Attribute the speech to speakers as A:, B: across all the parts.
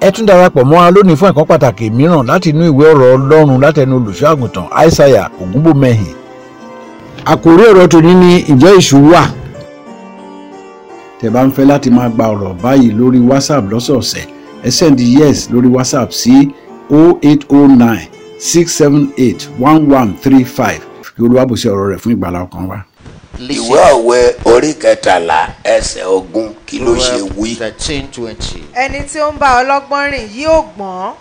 A: ẹ tún darapọ̀ mọ́ wa lónìí fún ẹ̀kọ́ pàtàkì mìíràn láti inú ìwé ọ̀rọ̀ ọlọ́run látẹnu olùṣọ́àgùntàn aishaiya ògúnbòmẹ́hìn.
B: àkòrí ọ̀rọ̀ tòní ni ǹjẹ́ èṣù wà
A: tẹ́ bá ń fẹ́ láti máa gba ọ̀rọ̀ báyìí lórí whatsapp lọ́sọ̀ọ̀sẹ̀ ẹ send yes lórí whatsapp sí 0809 678 1135 kí olúwa bùsí ọ̀rọ̀ rẹ̀ fún ìgbàlá ọkàn wa.
C: ìwé òwe orí kẹtàlá ẹsẹ̀ ogún kí ló ṣe wí.
D: thirteen twenty.
E: ẹni tí ó ń bá ọlọ́gbọ́n rìn yóò gbọ́n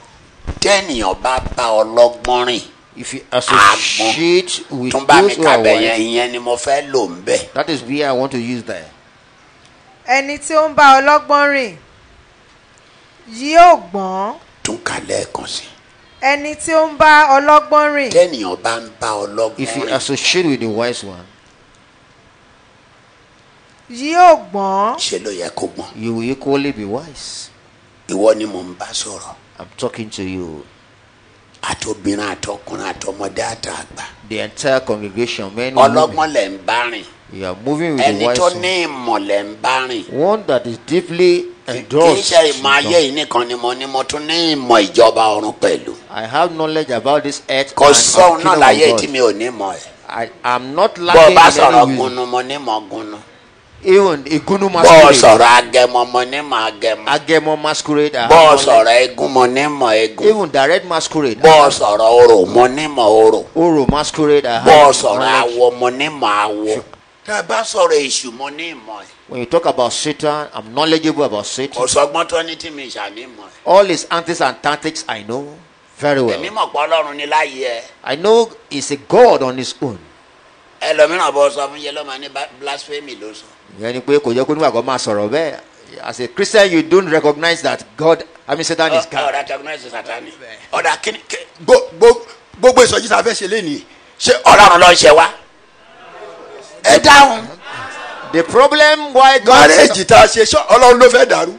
C: tẹ́nìyàn bá bá ọlọ́gbọ́n rìn
D: if you
C: àgbọn
D: associate with
C: tún bá mi
D: those who are
C: kàbẹ̀
D: wise
C: yẹn ìyẹn ni mo fẹ́ lò ń bẹ̀.
D: that is where i want to use that
E: ẹni tí ó ń bá ọlọ́gbọ́n rìn yóò gbọ́n
C: tún kà lẹ́ẹ̀kan sí.
E: ẹni tí ó ń bá ọlọ́gbọ́n rìn
C: tẹ́nìyàn bá ń bá ọlọ́gbọ́n
D: if you
C: rìn
D: associate with the wise one
E: yóò gbọ́n
C: ṣe ló yẹ kó gbọ́n.
D: you will equally be wise
C: ìwọ ni mò ń bá sọ̀rọ̀
D: i'm talking to you
C: àtobìnrin àtọkùnrin àtọmọdé àtàgbà.
D: the entire congregation men and women
C: ọlọ́gbọ́n lẹ̀ ń bá rìn
D: you are moving with
C: ẹni
D: the wise
C: tó ní
D: one
C: ìmọ̀ lẹ̀ ń bá rìn.
D: one that is deeply
C: kì í
D: endorsed
C: ṣe ìmọ̀ ayé yìí nìkan ni mo ní mo tún ní ìmọ̀ ìjọba ọ̀run pẹ̀lú.
D: i have knowledge about this earth
C: kò
D: and of
C: sóhun náà
D: kingdom of
C: láyé
D: God.
C: tí mi ò ní mọ̀ ẹ̀.
D: I am not
C: bọ́ ọ
D: lacking
C: bá
D: in
C: sọ̀rọ̀
D: any wisdom.
C: gunu mo ní mọ̀ gunu.
D: Even Igunu
C: bọ́ ọ
D: masquerade,
C: sọ̀rọ̀ agẹmọ mo ní mọ̀ agẹmọ.
D: Agemo masquerade, I have
C: bọ́ ọ
D: knowledge.
C: sọ̀rọ̀ eégún mo ní mọ̀ eégún.
D: even direct masquerade,
C: bọ́ ọ sọ̀rọ̀ orò mo ní mọ̀ orò.
D: Oro masquerade, I
C: bọ́ ọ
D: have
C: sọ̀rọ̀
D: knowledge.
C: awọ mo ní mọ̀ awọ. tá a bá sọ̀rọ̀ èṣù mo ní mọ̀ ẹ̀.
D: When you talk about Satan, I'm knowledgeable about
C: kò
D: Satan.
C: sọgbọ́n tó ní tí mi ìṣàní mọ̀ ẹ̀.
D: All his antics and tactics I know very
C: èmi
D: well.
C: mọ̀ pé ọlọ́run ní láyé ẹ̀.
D: I know he's a god on his own.
C: ẹlòmíràn bọ́ sọ fún yẹn ló máa ní ba- blasphemy ló sọ.
D: Ìyẹn ni pé kò yẹ kó nígbàgbọ́ máa sọ̀rọ̀ bẹ́ẹ̀. As a Christian, you don't recognize that God, I mean Satan is
C: Ọ-
D: God.
C: ọ̀rọ̀ recognize Sátánì. ọ̀dà kíni kí-
F: Gbo- gbo- gbogbo ìsọjí tá a fẹ́ ṣe lénìí
C: ṣé ọlọ́run ló ń ṣe wá. ẹ dáhùn.
D: The problem why God
F: márẹ́jì tá a ṣe ṣọ́ ọlọ́run ló fẹ́ dàrú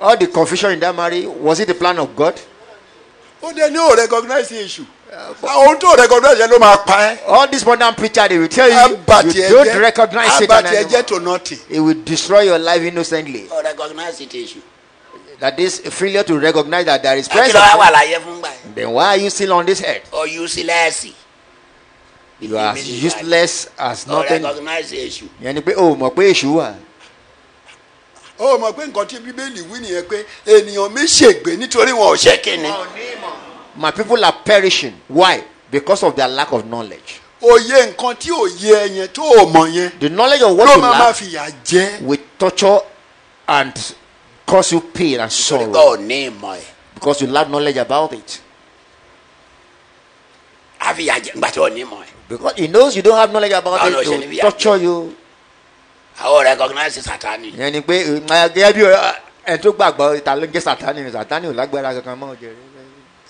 D: all the confusion in that marriage was it the plan of God?
F: ó dé ní ò recognize èṣù
D: Uh,
F: ohun tó recognize yẹn ló máa pa ẹ́
D: All this modern preacher they will tell you
F: abàtì
D: you don't
F: ẹ̀jẹ̀
D: recognize Satan
F: abàtì
D: anymore.
F: ẹ̀jẹ̀ tó nọ́ọ̀tì
D: It will destroy your life innocently.
C: ọ recognize ti èṣù.
D: That this failure to recognize that there is
C: kí ló wá wà
D: presence.
C: láyé fún gbà yẹn.
D: Then why are you still on this earth?
C: ọ useless.
D: You are as useless as
C: ọ
D: nothing.
C: recognize èṣù.
D: Ìyẹn ni pé o mọ̀ pé èṣù wà.
F: ó mọ̀ pé nǹkan tí bíbélì wí nìyẹn pé ènìyàn mi ṣègbè nítorí wọn ò
C: ṣé
F: ṣe
C: kí ni.
D: My people are perishing. Why? Because of their lack of knowledge.
F: òye nǹkan tí ò yé ẹ yẹn tó ò mọ̀ yẹn
D: The knowledge of
F: ló
D: what you
F: máa máa
D: lack
F: fìyà jẹ́
D: will torture and cause you pain and
C: torípọ̀
D: sorrow
C: ò ní ìmọ̀ ẹ̀.
D: because you lack knowledge about it.
C: àfihàn jẹ́ nígbà tí ò ní ìmọ̀ ẹ̀.
D: Because he knows you don't have knowledge about
C: No, no,
D: it,
C: it shouldn't
D: to
C: be.
D: torture you.
C: ọ recognize Sátánì.
D: ìyẹn ni pé "Eh, ẹ, gẹ́gẹ́ bí ẹ, ẹni eh, tó gbàgbọ́ ta ló ń jẹ́ sátani sátani ò lágbára kankan mọ́ jẹrẹ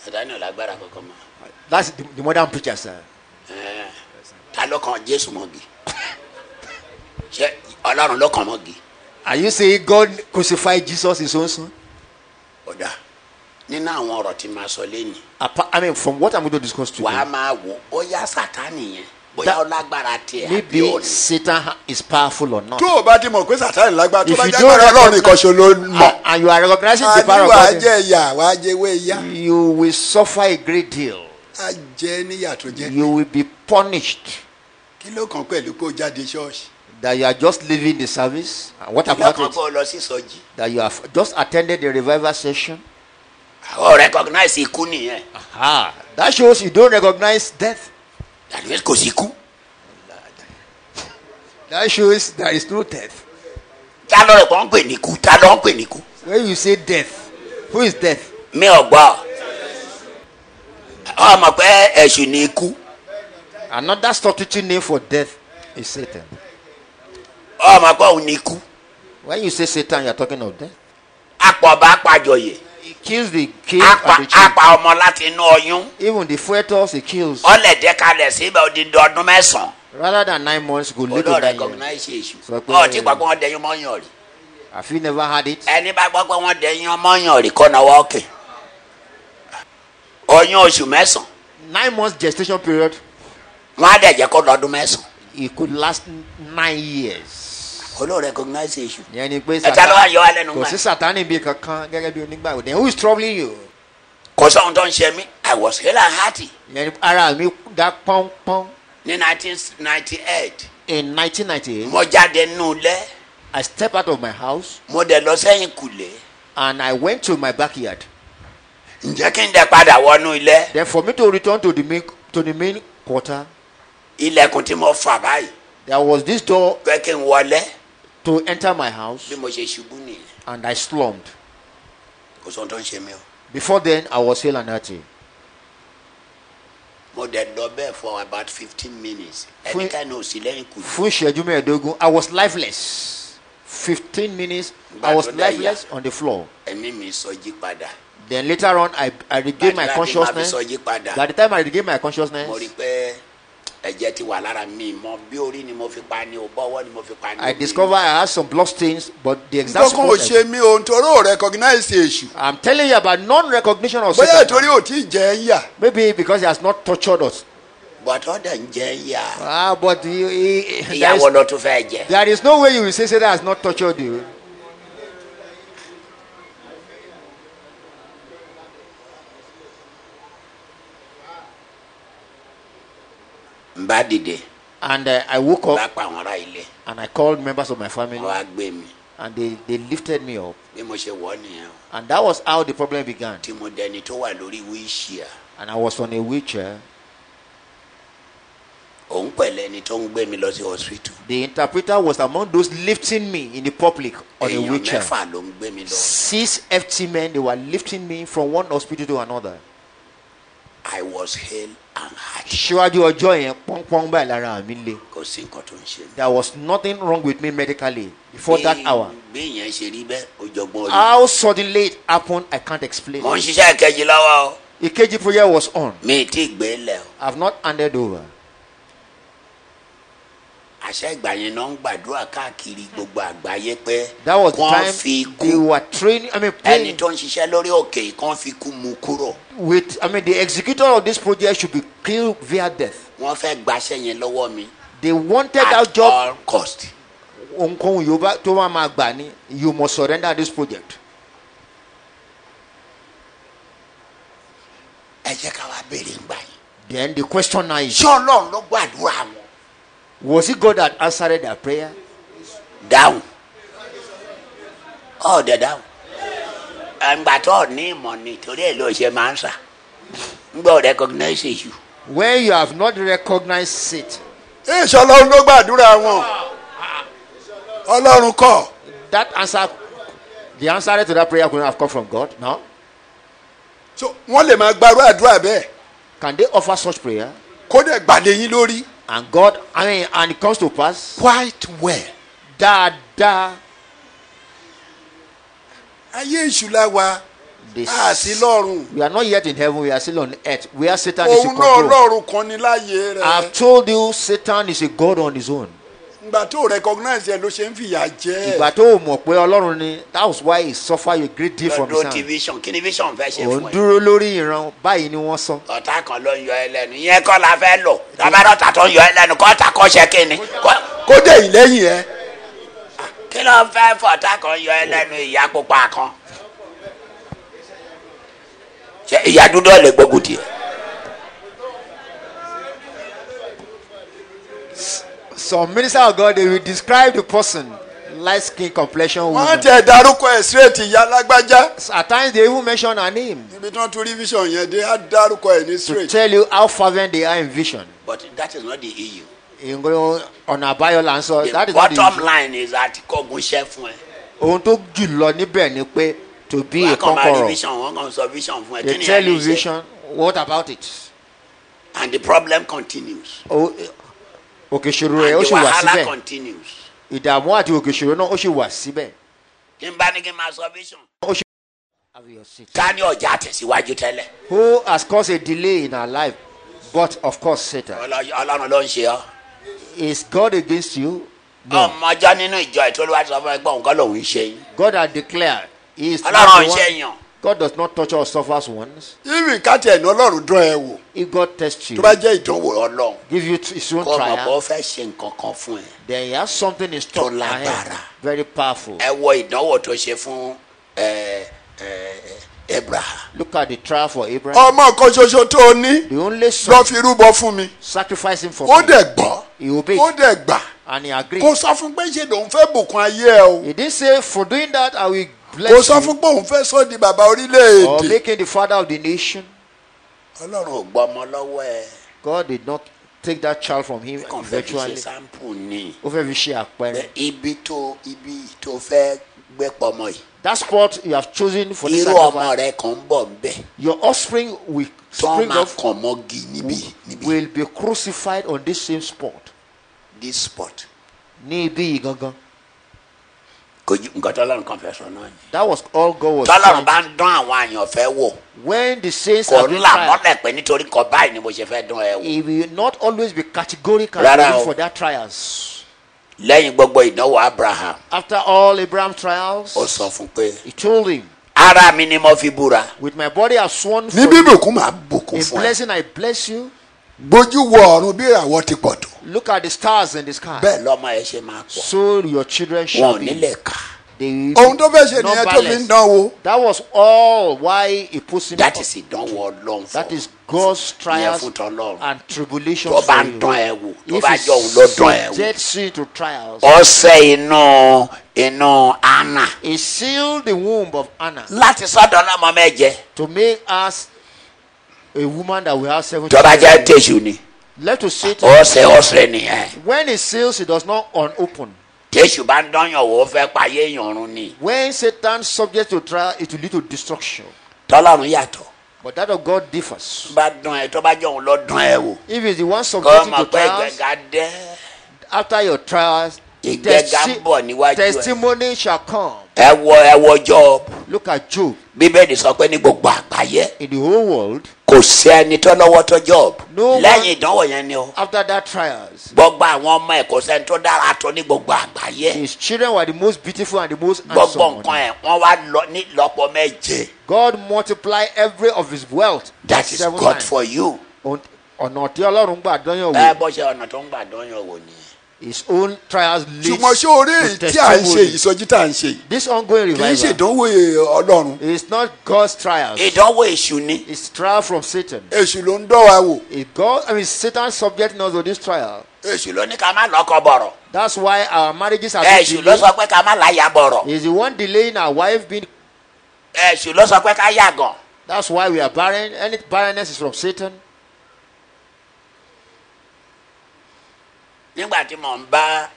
C: Sátánì ò lágbára kankan mọ́.
D: that's the, the modern preacher sir
C: Ẹ̀, ta ló kan Jésù mọ́gi. ṣé ọlọ́run ló kàn mọ́gi.
D: are you saying God crucified Jesus his own son
C: ọ̀dà nínú àwọn ọ̀rọ̀ tí màá sọ lẹ́nu
D: apart I mean from what I'm going to discuss today
C: wàá máa wò ó yá sátánì yẹn bóyá
D: That-
C: ó lágbára tiẹ̀ àbí
D: maybe
C: òní.
D: Satan ha- is powerful or not
F: tó o bá ti mọ̀ pé sàtáì lágbára tó
D: If
F: bá
D: you
F: jẹ́
D: don't
F: pé ọlọ́run
D: recognize-
F: nìkan ṣo ló mọ̀
D: and, and you are recognizing the power
F: àní
D: of
F: wàá
D: God
F: jẹ ìyà wàá jẹ ewé ìyá
D: you will suffer a great deal
F: á jẹ níyà tó jẹ
D: you will be punished
F: kí ló kàn pẹ̀lú pé ó jáde ṣọ́ọ̀ṣì.
D: that you are just leaving the service and what about
C: lọ́kàn
D: it
C: kó o lọ sí sọjí.
D: that you have just attended the revival session
C: ó recognize ikú nìyẹn
D: Ah, that shows you don't recognize death.
C: that means kò sí ikú.
D: That shows there is no death.
C: ta ló rẹ̀ kó ń pè ní ikú ta ló ń pè ní ikú.
D: When you say death, who is death?
C: mi ò gbọ́ ọ mọ̀ pé èṣù ni ikú
D: Another substitute name for death is Satan.
C: ọ mọ̀ pé òun ni ikú
D: When you say Satan, you are talking of death.
C: apọ̀ba apàjọyè
D: He kills the king
C: apa
D: and the child.
C: apa ọmọ láti inú ọyún
D: Even the fetus he kills.
C: ọlẹ̀dẹ́ kalẹ̀ síbẹ̀ odidi ọdún mẹ́sàn-án
D: Rather than nine months, go live
C: olóò
D: to nine years.
C: recognize èṣù
D: Sọ pé-
C: ọ tí gbàgbọ́ wọn dẹyìn mọ́yàn rí.
D: Have you never had it?
C: ẹni bá gbọ́ pé wọ́n dẹyìn ọmọyàn rí kọ́ náwó ọ̀kẹ́ oyún oṣù mẹ́sàn-án
D: Nine months gestation period.
C: wọ́n á dẹ̀ jẹ́ kó lọ́dún mẹ́sàn-án
D: It could last n- nine years.
C: kò ló recognize issue.
D: ìyẹn ni pé
C: ẹ ta ló wá yọ alẹ́ nu
D: kò
C: gbà.
D: sí sátani bíi kankan gẹ́gẹ́ bí onígbàgbọ́ then who is troubling you
C: kò sóhun tó ń ṣe mí i was hale and hearty
D: ìyẹn ni ara mi dá pọ́npọ́n
C: ní nineteen ninety eight
D: in nineteen ninety eight
C: mo jáde nù lẹ́
D: I step out of my house
C: mo dẹ̀ lọ sẹ́yìn kùlé
D: and I went to my backyard
C: ǹjẹ́ kí n dẹ̀ padà wọnú ilé
D: then for me to return to the main to the main quarter
C: ilẹ̀kùn tí mo fà báyìí
D: there was this door
C: pé kí n wọlé
D: to enter my house
C: bí mo ṣe ṣubú nìyẹn
D: and I slumped
C: kò sóhun tó ń ṣe mí o
D: before then I was hale and hearty
C: mo dẹ̀ lọ bẹ́ẹ̀ for about fifteen minutes
D: Fún-
C: ẹnikẹ́ni ò sí lẹ́yìn kùlé
D: fún ìṣẹ́jú mẹ́ẹ̀ẹ́dógún I was lifeless fifteen minutes I was lifeless on the floor
C: ẹ̀mí mi sọjí padà
D: then later on I I regained my
C: Gbàdúrà bí màá fi
D: consciousness
C: sọjí padà
D: by the time I regained my
C: mo rí i
D: consciousness
C: pé ẹ̀jẹ̀ ti wà lára mi mọ bí orí ni mo fi pa ni o bọ́wọ́ ni mo fi pa ni
D: I
C: mi.
D: discovered I had some blood stains but the exact
F: nǹkan kan ò
D: spot
F: ṣe
D: I,
F: mí o nítorí ò recognize èṣù
D: I'm telling you about non-recognition of
F: bóyá
D: Satan
F: ìtorí ò tí ì jẹ́ ń yà
D: maybe because he has not tortured us
C: bọ́tọ́ dẹ̀ ń jẹ́ ìyá
D: ah but he, he, he, there,
C: ìyàwó
D: is,
C: ló tún fẹ́ jẹ.
D: there is no way you will say Satan has not tortured you
C: n bá dìde
D: and uh, I woke
C: n bá
D: up
C: pa àwọn ará ilé
D: and I called members of my family
C: wọn á gbé mi
D: and they, they lifted me up
C: bí mo ṣe wọ̀ ọ́ nìyẹn o.
D: and that was how the problem began
C: tí mo dẹni tó wà lórí wíṣíà
D: and I was on a wheelchair
C: òun pẹ̀lú ẹni tó ń gbé mi lọ sí hospital.
D: the interpreter was among those lifting me in the public on a
C: èèyàn
D: wheelchair
C: mẹ́fà ló ń gbé mi lọ.
D: six FT men they were lifting me from one hospital to another
C: I was hale and hearty.
D: síwájú ọjọ́ yẹn pọ́npọ́n báyìí lára mi le
C: kò sí nǹkan tó ń ṣe mí.
D: there was nothing wrong with me medically before that
C: Bí-
D: hour Ah.
C: bí ìyẹn ṣe rí bẹ́ẹ̀ ojogbọ́n orí.
D: how suddenly it happened I can't explain
C: mo ń ṣiṣẹ́ ìkejì lọ́wọ́ o
D: ìkejì prayer was on
C: mi ì tí ì gbé lẹ̀ o.
D: I have not handed over
C: àṣẹ ìgbà yẹn náà ń gbàdúrà káàkiri gbogbo àgbáyé pé
D: that was the
C: kán
D: time
C: fi
D: they
C: kú
D: were training I mean
C: ẹni
D: praying
C: tó ń ṣiṣẹ́ lórí òkè yìí kán fi kú mu kúrò
D: with I mean the executor of this project should be killed via death
C: wọ́n fẹ́ gbaṣẹ́ yẹn lọ́wọ́ mi
D: they wanted that
C: at
D: job
C: all cost
D: ohunkóhun yóò bá tó bá máa gbà ni you must surrender this project
C: ẹ jẹ́ ká wá béèrè ìgbà yẹn
D: then the question now is
C: ṣé ọlọ́run ló gbàdúrà wọn
D: was it God that answered their prayer
C: dáhùn ọ̀ọ́dẹ dáhùn ẹ̀ǹgbà tó ò ní ìmọ̀ ni torí ẹ̀ ló ṣe máa ń sà ń gbọ́ recognize you
D: when you have not recognized it
F: èṣù ọlọ́run ló gbàdúrà wọn ọlọ́run kọ̀
D: that answer the answer to that prayer could not have come from God no
F: So, wọ́n lè máa gbarú àdúrà bẹ́ẹ̀
D: can they offer such prayer
F: kó dẹ̀ gbàdé yín lórí
D: and God I mean and it comes to pass
F: quite well.
D: dáadáa
F: ayé èṣù la wa
D: the
F: a Ah, sí lọ́run
D: we are not yet in heaven we are still on earth where Satan is in
F: òun náà
D: control
F: lọ́run kan ní láàyè
D: I have
F: rẹ̀
D: told you Satan is a God on his own.
F: ìgbà tó recognize ẹ ló ṣe ń fìyà jẹ
D: ìgbà
F: ẹ
D: tó o mọ̀ pé ọlọ́run ni that was why he suffered a great deal from his
C: lọ́dún
D: hand.
C: division kí ni vision fẹ́ ṣe
D: òun
C: fún ẹ
D: dúró lórí ìran báyìí ni wọ́n sọ.
C: ọ̀tá kan ló ń yọ ẹ lẹ́nu ìyẹn kọ́ la fẹ́ lò lábẹ́rọ̀tà tó ń yọ ẹ lẹ́nu kọ́ta kọ́ ṣe kí ni Kọ́-
F: kó dẹ̀ yín lẹ́yìn ẹ
C: kí ló ń fẹ́ fọ̀tá kan yọ ẹ lẹ́nu ìyá pupa kan ṣe ìyá dúdú ọ̀ lè gbógun tiẹ̀
D: some minister of God they will describe the person light skin complexion
F: wọ́n
D: woman.
F: tẹ̀ dárúkọ ẹ̀ straight ìyá alágbájá
D: at times they even mention her name
F: ibi tí wọ́n tún rí vision yẹn dé á dárúkọ ẹ̀ ní
D: to
F: straight
D: tell you how fervent they are in vision.
C: but that is not the issue
D: ìgbóhùn ọ̀nà àbáyọ là ń sọ that
C: the
D: is not the
C: bottom
D: issue.
C: line is that kọ́gun ṣẹ́ fún ẹ
D: ohun tó jù lọ níbẹ̀ ni pé to be a
C: wọ́n kàn máa rí
D: conqueror
C: vision wọ́n kàn sọ vision fún ẹ
D: they
C: kí ni ẹ
D: tell
C: lè
D: you
C: ṣe
D: vision what about it.
C: and the problem continues
D: O- òkè ìṣòro rẹ̀ ó
C: and the
D: sì wà
C: wahala
D: síbẹ̀.
C: continues
D: ìdààmú àti òkè ìṣòro náà ó sì wà síbẹ̀.
C: kí n bá ní kí n máa sọ vision
D: Have your seat.
C: ká ní ọjà tẹ̀síwájú tẹ́lẹ̀
D: Who has caused a delay in our life? But of course, Satan.
C: Ọlọ́- ọlọ́run ló ń ṣe ọ́
D: Is God against you?
F: Um,
C: ọmọjọ́ nínú ìjọ ìtòlúwàsọ fún ẹgbẹ́ òun kọ́ lòun ń ṣe yín
D: God has declared He is
C: ọlọ́run
D: not
C: ń
D: the
C: ṣe
D: one.
C: yàn
D: God does not torture or suffer us once.
F: even káàtì ẹ̀nà ọlọ́run dán ẹ wò
D: If God tests you,
F: tó bá jẹ́ ìdánwò ọlọ́run
D: give you t- his own
C: kọ́ ọmọ
D: trial,
C: bọ́ fẹ́ ṣe nǹkan kan fún ẹ
D: then he has something in
C: tó
D: store. ahead.
C: lágbára
D: Very powerful.
F: Um,
C: ẹ wọ ìdánwò tó ṣe fún ẹ, ẹ, abraham
D: Look at the trial for Abraham.
F: ọmọ kan ṣoṣo tó o ní
D: The only
F: lọ
D: son
F: fi rúbọ fún mi
D: sacrificed him for
F: ó
D: me,
F: dẹ̀ gbọ́
D: He obeyed.
F: ó dẹ̀ gbà
D: and he agreed.
F: kò sọ fún pé ṣe lòun fẹ́ bùkún ayé ẹ o
D: He didn't say, For doing that, I will
F: kò
D: bless
F: sọ
D: you
F: fún pé òun fẹ́ sọ di bàbá
D: or
F: orílẹ̀-èdè
D: making the father of the nation.
C: ọlọ́run ò gbọ́ ọmọ lọ́wọ́ ẹ
D: God did not take that child from him
C: kàn fẹ́ fi ṣe
D: eventually.
C: sample ni
D: Ó fẹ́ fi ṣe àpẹẹrẹ.
C: Bẹ- ibi tó ibi tó fẹ́ gbé pọmọ yìí
D: That spot you have chosen for this
C: irú ọmọ
D: sacrifice,
C: rẹ kan ń bọ̀ ń bẹ̀
D: your offspring will
C: tó
D: spring
C: máa
D: up
C: kàn mọ́gi níbi níbi
D: will be crucified on this same spot.
C: this spot
D: Ní ibi yìí gangan.
C: kò ju nǹkan tọ́lọ́run kan fẹ́ sọ náà ni
D: That was all God was
C: tọ́lọ́run bá
D: trying.
C: ń dán àwọn àyàn fẹ́ wò
D: When the saints
C: kò
D: are
C: ń
D: being
C: là
D: tried,
C: mọ́lẹ̀ pé nítorí kan báyìí ni mo ṣe fẹ́ dán ẹ wò
D: he will not always be categorical
C: Rárá o.
D: for their trials.
C: lẹ́yìn gbogbo ìdánwò abraham
D: After all Abraham's
C: ó
D: trials,
C: sọ fún pé
D: he told him,
C: ara mi ni mo fi búra
D: With my body I've sworn
F: ní
D: for you.
F: bíbùkún máa bùkún
D: In
F: fún ẹ
D: blessing I bless you.
F: gbójú wo ọ̀run bí ìràwọ̀ ti pọ̀ tó
D: Look at the stars in the sky.
C: bẹ́ẹ̀ lọ́mọ ẹ ṣe máa pọ̀
D: So your children
C: wọn ò
D: shall be.
C: nílẹ̀ kà
D: They will be
F: ohun tó fẹ́ ṣe nìyẹn tó fi ń
D: numberless.
F: dánwò
D: That was all why he puts him.
C: that
D: up.
C: is ìdánwò ọlọ́run fún
D: That is God's
C: ìyẹn
D: trials
C: fún tọ́lọ́run
D: and tribulations
C: tó bá
D: for
C: ń
D: you.
C: dán ẹ wò tó
D: If
C: bá
D: he
C: jọ òun ló dán ẹ wò
D: subjects you to trials,
C: ọsẹ inú inú anna
D: he sealed the womb of Anna
C: láti sọ́dọ̀ ọlọ́mọ mẹ́jẹ
D: to make us a woman that will have seven
C: tó bá jẹ́
D: children.
C: tèṣù ni
D: Let us say to-
C: ọsẹ ọsẹ nìyẹn
D: when he seals, he does not unopen.
C: tèṣù bá ń dán yàn wò ó fẹ́ payé èèyàn run ni
D: When Satan subjects to trial, it will lead to destruction.
C: tọ́lọ́run yàtọ̀
D: But that of God differs.
C: bá dán ẹ tó bá jọ òun ló dán ẹ wò
D: If it's the one
C: kọ́
D: subjected
C: ọmọ
D: to
C: pé
D: trials,
C: ìgbẹ́ga dẹ́
D: after your trials,
C: ìgbẹ́ga ń
D: testi-
C: bọ̀ níwájú ẹ
D: testimony shall come.
C: ẹ wọ ẹ wọ job
D: Look at Job
C: bíbélì sọ pé ní gbogbo àgbáyé
D: in the whole world.
C: kò sí ẹni tó lọ́wọ́ tó job
D: No one-
C: lẹ́yìn ìdánwò yẹn ni o
D: After that trials,
C: gbogbo àwọn ọmọ ẹ̀ kò sẹ́ni tó dára tó ní gbogbo àgbáyé
D: his children were the most beautiful and the most
C: gbogbo
D: handsome.
C: nǹkan ẹ̀ wọ́n wá lọ ní lọ́pọ̀ méje
D: God multiply every of his wealth.
C: that is
D: seven
C: God
D: times. Oh.
C: for you
D: On- ọ̀nà tí ọlọ́run gbà dányàn wò
C: ẹ bó ṣe ọ̀nà tó ń gbà dányàn wò ni
D: his own trials lead
F: ṣùgbọ́n ṣé orí èyí tí à ń ṣe yìí ìsọjí tá à ń ṣe yìí
D: this ongoing
F: kì í ṣe
D: revival
F: ìdánwò ọlọ́run
D: is not God's trials
C: ìdánwò èṣù ni
D: it's trial from Satan
F: èṣù ló ń dán wa wò
D: if God I mean Satan subjecting us to this trial
C: èṣù ló ní ká má lọ́kọ bọ̀rọ̀
D: that's why our marriages are being
C: èṣù ló
D: delayed
C: sọ pé ká má láyà bọ̀rọ̀
D: is the one delaying our wife being
C: èṣù ló sọ pé ká yàgàn
D: that's why we are barren any barrenness is from Satan
C: nígbà tí mò ń bá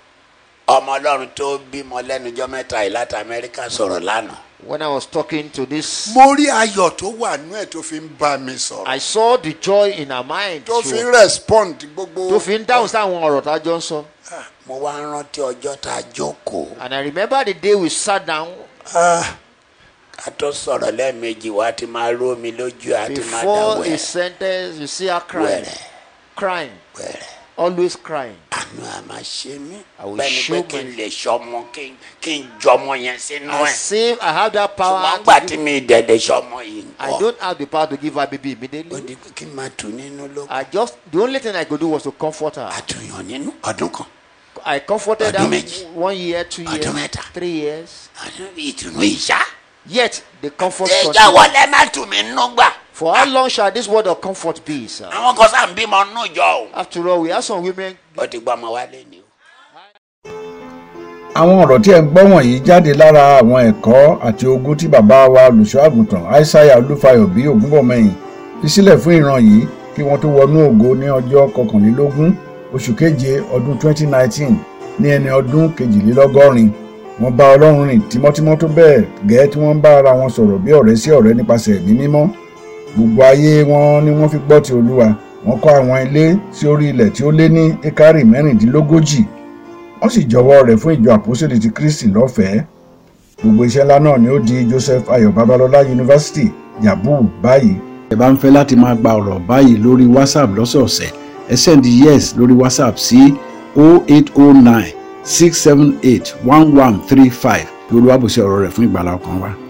C: ọmọ ọlọ́run tó bímọ lẹ́nujọ́ mẹ́ta yìí láti amẹ́ríkà sọ̀rọ̀ lánàá
D: when I was talking to this
F: mo rí ayọ̀ tó wà nú ẹ̀ tó fi ń bá mi sọ̀rọ̀
D: I saw the joy in her mind
F: tó fi
D: she
F: ń
D: was-
F: respond gbogbo
D: tó fi ń dáhùn sáwọn ọ̀rọ̀ tá a jọ ń sọ
C: Ah, mo wá ń rántí ọjọ́ tá a jókòó
D: and I remember the day we sat down
C: ká tó sọ̀rọ̀ lẹ́ẹ̀mejì wá ti máa rú omi lójú àti máa dà
D: before a
C: wẹ̀
D: sentence you see her crying
C: wẹ̀rẹ̀
D: crying
C: wẹ̀rẹ̀
D: always crying
C: àánú à máa ṣe mí
D: I will
C: bẹ́ẹ̀ni pé
D: show
C: kí n
D: my-
C: lè ṣọmọ kí n- kí n jọmọ yẹn sínú
D: I
C: ẹ̀
D: save I have that
C: ṣùgbọ́n
D: power
C: gbà
D: to
C: tí
D: give,
C: mi dẹ̀dẹ̀ ṣọmọ yìí ń
D: I
C: kọ́
D: don't have the power to give her baby
C: ó
D: immediately
C: di pé kí n máa tù nínú ló
D: I just the only thing I could do was to comfort her
C: àtúnyàn nínú ọdún kan
D: I comforted
C: Ọdún
D: her
C: méjì.
D: one year two
C: Ọdún
D: years
C: mẹ́ta.
D: three years
C: Àdún- ìtùnú ìṣá
D: yet the comfort
C: ìjà
D: continued.
C: wọlé má tù mí nínú gbà
D: for how long shall this word of comfort be sir
C: àwọn kan sáà ń bímọ nínú ìjọ o.
D: after all we have some women
C: ó ti gbọ́ ọmọ wa lé ní o.
B: àwọn ọ̀rọ̀ tí ẹ̀ ń gbọ́ wọ̀nyí jáde lára àwọn ẹ̀kọ́ àti ogún tí bàbá wa olùṣọ́ àgùntàn aishaiya olúfayọ bí ògúnbọ̀mọyìn fi sílẹ̀ fún ìran yìí kí wọ́n tó wọnú ògo ní ọjọ́ kọkànlélógún oṣù keje ọdún 2019 ní ẹni ọdún kejìlélọ́gọ́rin wọ́n bá ọlọ́run rìn tímọ́tímọ́ tó bẹ́ẹ̀ gẹ́ tí wọ́n ń bá ara wọn sọ̀rọ̀ bí ọ̀rẹ́ sí ọ̀rẹ́ nípasẹ̀ ẹ̀mí mímọ́ gbogbo ayé wọn ni wọ́n fi gbọ́ ti olúwa wọ́n kọ́ àwọn ilé sí orí ilẹ̀ tí ó lé ní ekari mẹ́rìndínlógójì wọ́n sì jọ̀wọ́ rẹ̀ fún ìjọ àpòsílẹ̀ ti kristi lọ́fẹ̀ẹ́ gbogbo iṣẹ́ ńlá náà ni ó di joseph ayọ̀ babalọ́lá yunifásitì yabu báyìí
A: ẹ bá ń fẹ́ láti máa gba ọ̀rọ̀ báyìí lórí whatsapp lọ́sọ̀ọ̀sẹ̀ ẹ sẹ́ndí yes lórí whatsapp sí 0809 678 1135 kí olúwàbùsẹ̀ ọ̀rọ̀ rẹ̀ fún ìgbàlá ọkàn wa.